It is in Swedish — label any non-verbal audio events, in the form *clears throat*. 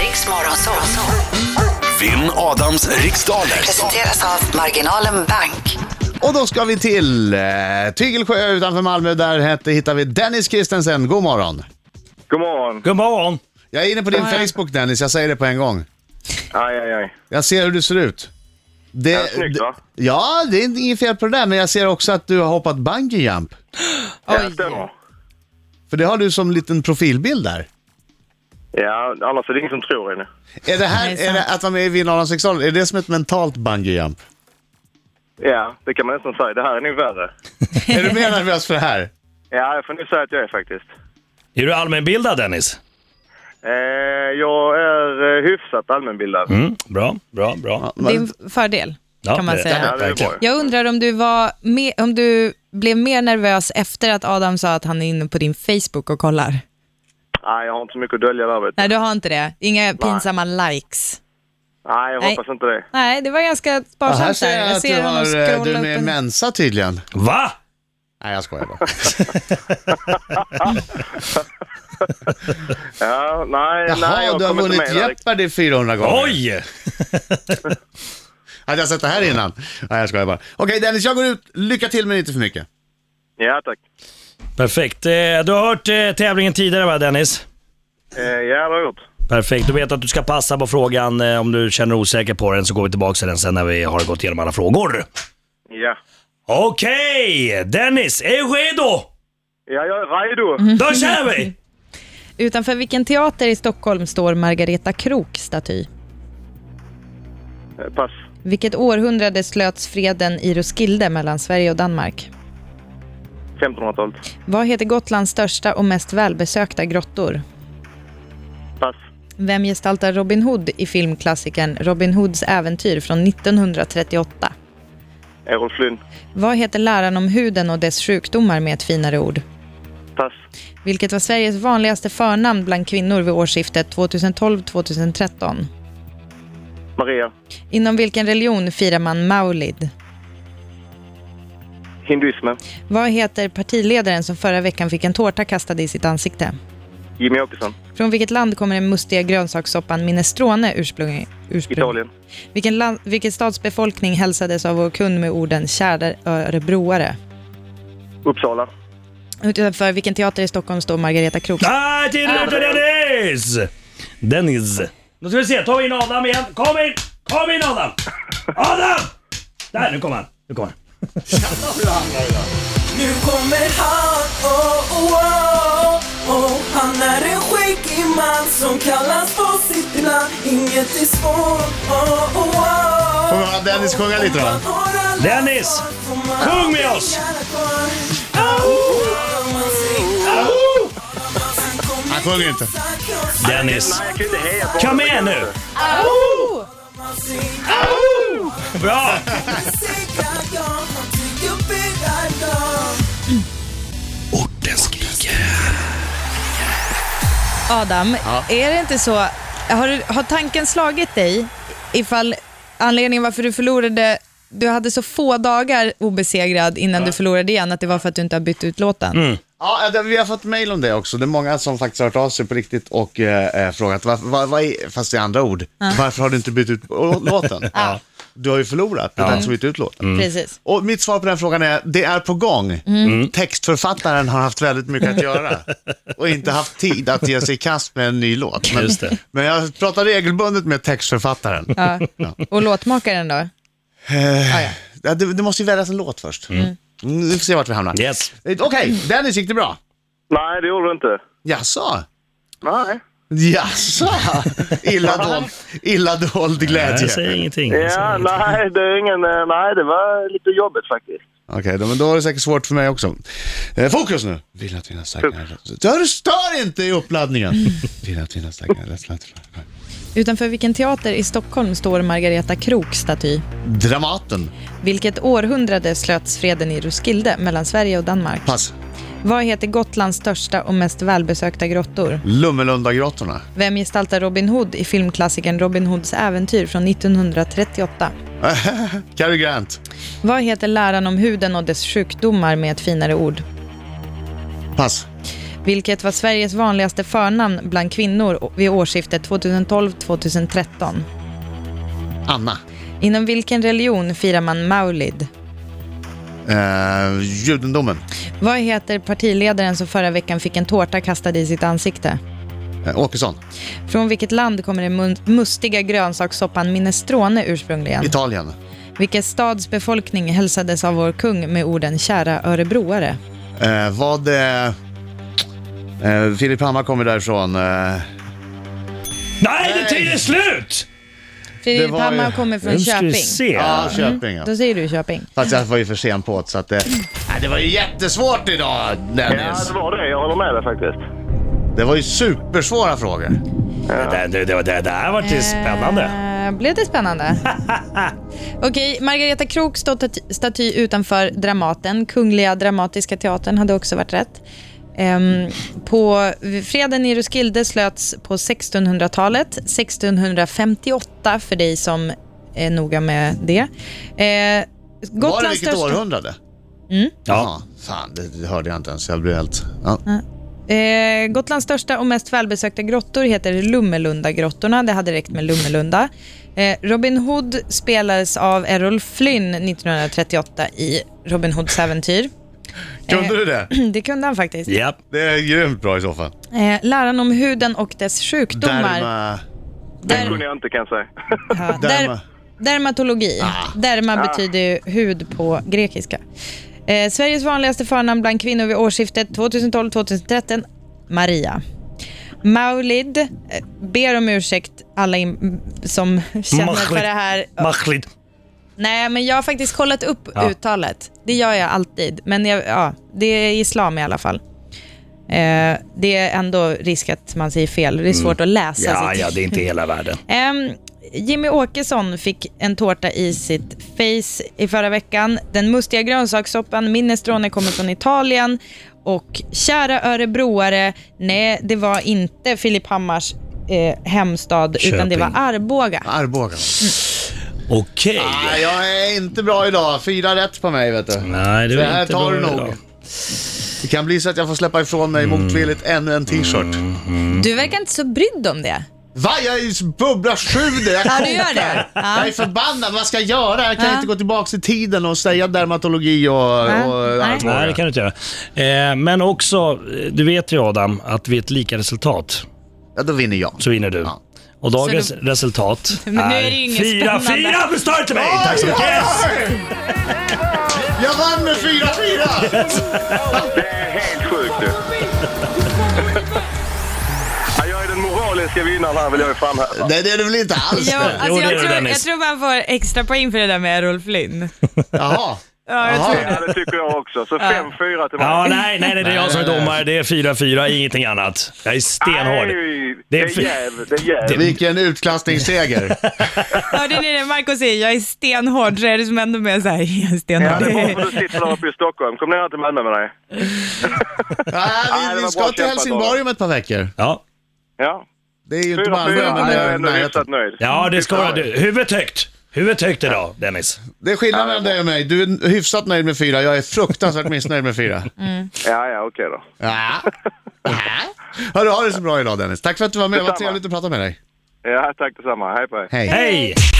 Riks Morgonzoo. Vinn Adams riksdaler. Presenteras av Marginalen Bank. Och då ska vi till eh, Tygelsjö utanför Malmö. Där hette- hittar vi Dennis Christensen. God morgon. God morgon. God morgon! Jag är inne på din Facebook Dennis, jag säger det på en gång. Aj, aj, aj. Jag ser hur du ser ut. Eh, Det, Ja, snyggt, va? det- Ja, det är inget fel på det där, men jag ser också att du har hoppat bungee jump. Det stämmer. För det har du som liten profilbild där. Ja, annars är det ingen som tror ännu. Är det här, Nej, är sant. det att vara med i Vinn Adams riksdaler, är det som ett mentalt bungee jump? Ja, det kan man nästan säga. Det här är nog värre. Är du mer nervös för det här? Ja, jag får nog säga att jag är faktiskt. Är du allmänbildad Dennis? Eh, jag är eh, hyfsat allmänbildad. Mm, bra, bra, bra. Det är en fördel, Ja, kan man det- säga. Ja, det är verkligen. bra. Jag undrar om du, var med, om du blev mer nervös efter att Adam sa att han är inne på din Facebook och kollar? Nej, jag har inte så mycket att dölja där, vet du. Nej, du har inte det. Inga pinsamma likes. Nej, jag Nej. hoppas inte det. Nej, det var ganska Ja, här sparsamt ser jag att du, har, eh, du är med i Mensa tydligen. Va? Nej, jag *laughs* skojar bara. Ja, nej, nej, Jaha, jag du har kommer inte vunnit med där. Jeopardy 400 gånger. Oj! Hade jag sett det här innan? Nej, jag skojar bara. Okej Dennis, jag går ut. Lycka till men inte för mycket. Ja, tack. Perfekt. Eh, Du har hört eh, tävlingen tidigare va Dennis? Eh, ja, det har jag gjort. Perfekt. Du vet att du ska passa på frågan. eh, Om du känner dig osäker på den så går vi tillbaka till den sen när vi har gått igenom alla frågor. Ja. Okej, Dennis, är du redo? Ja, jag är redo. Mhm. Då kör vi! Utanför vilken teater i Stockholm står Margareta Krook staty? Eh, pass. Vilket århundrade slöts freden i Roskilde mellan Sverige och Danmark? 1500-talet. Vad heter Gotlands största och mest välbesökta grottor? Pass. Vem gestaltar Robin Hood i filmklassikern Robin Hoods äventyr från 1938? Errol Flynn. Vad heter läran om huden och dess sjukdomar med ett finare ord? Pass. Vilket var Sveriges vanligaste förnamn bland kvinnor vid årsskiftet 2012-2013? Maria. Inom vilken religion firar man Maulid? Hinduismen. Vad heter partiledaren som förra veckan fick en tårta kastad i sitt ansikte? Jimmy Åkesson. Från vilket land kommer den mustiga grönsakssoppan minestrone ursprungligen? ursprungligen? Italien. Vilken, land, vilken stads befolkning hälsades av vår kund med orden kära örebroare? Uppsala. Utanför vilken teater i Stockholm står Margareta Krook? Ah, till minuter Dennis! Dennis. Då ska vi se, ta in Adam igen. Kom in! Kom in Adam! Adam! Där, nu kommer han. Nu kommer han. Nu kommer han, oh, oh, oh, oh. Han är en skäggig man som kallas på sitt namn Inget är svårt, oh, oh, oh. Får vi höra Dennis sjunga lite då? Dennis, sjung med oss! Han sjunger inte. Dennis. Jag kan inte heja på Kom igen nu! Bra! Orten skriker. Adam, är det inte så, har, du- har tanken slagit dig ifall anledningen varför du förlorade, du hade så få dagar obesegrad innan du förlorade igen, att det var för att du inte har bytt ut låten? Ja, eh, det- vi har fått mail om det också. Det är många som faktiskt har hört av sig på riktigt och eh, eh, frågat, varför, vad, vad är, fast i andra ord, varför har du inte bytt ut å- låten? Du har ju förlorat, det är dags att byta ut låten. Precis. Och mitt svar på den frågan är, det är på gång. Mm. Textförfattaren har haft väldigt mycket att *laughs* göra och inte haft tid att ge sig i kast med en ny låt. Men, Just det. men jag pratar regelbundet med textförfattaren. Ja. Och låtmakaren då? Ja, det, det måste ju väljas en låt först. Mm. Vi får se vart vi hamnar. Eh, Yes. Okej, Dennis gick det bra? Nej, det gjorde du inte. Jaså? Nej. Jaså? *laughs* Illa dold, illa dold glädje. Jag säger ingenting. Jag säger Ja, ingenting. nej, det är ingen... eh, Nej, det var lite jobbigt faktiskt. Okej, då, men då är det säkert svårt för mig också. Eh, fokus nu! Vill att vinna starkare... Du stör inte i *laughs* uppladdningen! Vill att vinna starkare rädsla. Utanför vilken teater i Stockholm står Margareta Krook staty? Dramaten. Vilket århundrade slöts freden i Roskilde mellan Sverige och Danmark? Pass. Vad heter Gotlands största och mest välbesökta grottor? Lummelundagrottorna. *laughs* Vem gestaltar Robin Hood i filmklassikern Robin Hoods äventyr från 1938? Cary Grant. Vad heter läran om huden och dess sjukdomar med ett finare ord? Pass. vilket var Sveriges vanligaste förnamn bland kvinnor vid årsskiftet 2012-2013. Anna. Inom vilken religion firar man Maulid? Eh, judendomen. Vad heter partiledaren som förra veckan fick en tårta kastad i sitt ansikte? Eh, Åkesson. Från vilket land kommer den mun- mustiga grönsakssoppan minestrone ursprungligen? Italien. Vilken stads befolkning hälsades av vår kung med orden “kära örebroare”? Eh, vad... eh, eh, Filip Hammar kommer därifrån. Eh, Nej, det tiden är slut! Filip var ju- Hammar kommer från Nu ska vi Köping. se. ja, Köping. Ja. Mm. Då säger du Köping. Fast jag var ju för sen på det, så att... Eh, nej, det var ju jättesvårt idag, Ja, Dennis. det var det. Jag håller med dig faktiskt. Det var ju supersvåra frågor. Det, det, det, det, det här vart ju spännande. Eh, blev Eh, det spännande? Okej, Margareta Krook staty, staty utanför Dramaten. Kungliga Dramatiska Teatern hade också varit rätt. Ehm, på freden i Roskilde slöts på 1600-talet, 1658 för dig som är noga med det. Eh, var Gotlands det vilket största- Mm. århundrade? Ja. Fan, det, det hörde jag inte ens. Jag blev helt... Ja. Eh, Gotlands största och mest välbesökta grottor heter Lummelundagrottorna. Det hade räckt med Lummelunda. Eh, Robin Hood spelades av Errol Flynn 1938 i Robin Hoods äventyr. *clears throat* Kunde du det? Det kunde han faktiskt. Japp. Det är grymt bra i så fall. Eh, läran om huden och dess sjukdomar. Derma... Det kunde jag inte kan jag säga. *laughs* Ja, Derma- der, dermatologi. Ah. Derma betyder ju hud på grekiska. Eh, Sveriges vanligaste förnamn bland kvinnor vid årsskiftet 2012-2013, Maria. Maulid eh, ber om ursäkt alla in, m- som *laughs* känner för det här. Machligt. Nej, men jag har faktiskt kollat upp Ja. uttalet. Det gör jag alltid. Men jag, ja, det är islam i alla fall. Eh, det är ändå risk att man säger fel. Det är svårt att läsa Mm. Ja, sitt ja, det är inte hela världen. Ehm, Jimmy Åkesson fick en tårta i sitt face i förra veckan. Den mustiga grönsakssoppan minestrone kommer från Italien. Och kära örebroare, nej det var inte Filip Hammars eh, hemstad, utan det var Köping. Arboga. Arboga. Okej. Ah, jag är inte bra idag. Fyra rätt på mig, vet du. Nej, det det var här inte tar bra du nog. idag. Mm. Det kan bli så att jag får släppa ifrån mig motvilligt ännu en t-shirt. Mm. Du verkar inte så brydd om det. Va? Jag är ju bubbla sjuder. Jag Ja, du gör kokar. det. *laughs* Ja. Jag är förbannad. Vad ska jag göra? Jag kan Ja. inte gå tillbaka i tiden och säga dermatologi och, och Nej. Arboga. Nej, det kan du inte göra. Eh, men också, eh, du vet ju Adam, att vid ett lika resultat Ja, då vinner jag. så vinner du. Ja. Och dagens Så resultat *laughs* Men nu är det ju inget fyra, spännande. fyra! Förstör inte mig! Tack så mycket! Yes! Oj! Jag vann med 4-4! Det är helt sjukt du. Ja, jag är den moraliska vinnaren här vill jag ju framhäva. Nej, det är det väl inte alls? Jo, alltså, Jo, det är jag, det, tror, jag Dennis. tror man får extra poäng för det där med Errol Flynn. Jaha. Ja, jag Jaha. tror, Ja, det tycker jag också. Så 5-4 till mig. Ja, nej, nej, nej, det är jag som är domare. Det är fyra, fyra, ingenting annat. Jag är stenhård. Nej, Det Det är är för- jäv. Det är jäv. Vilken *laughs* utklassningsseger. hörde ni det Marco säger? Jag är stenhård, så är det som ändå med så här, jag är Ja, det är stenhård. bra för du sitter där uppe i Stockholm. Kom ner till Malmö med dig. Nej, det vi, var vi bra ska till kämpat, Helsingborg om ett par veckor. Ja, Ja. Det är ju inte 4-4. Malmö, men Jag det är är ändå närheten. hyfsat nöjd. ja det ska vara du. Huvudet högt. Huvudet högt idag, Dennis. Det är skillnad mellan dig och mig. Du är hyfsat nöjd med fyra, jag är fruktansvärt missnöjd med fyra. Ja, ja, okej då. Ja. Ja. Hörru, ha det så bra idag Dennis. Tack för att du var med, vad Detsamma. trevligt att prata med dig. Ja, tack detsamma. Hej på er. Hej. Hej!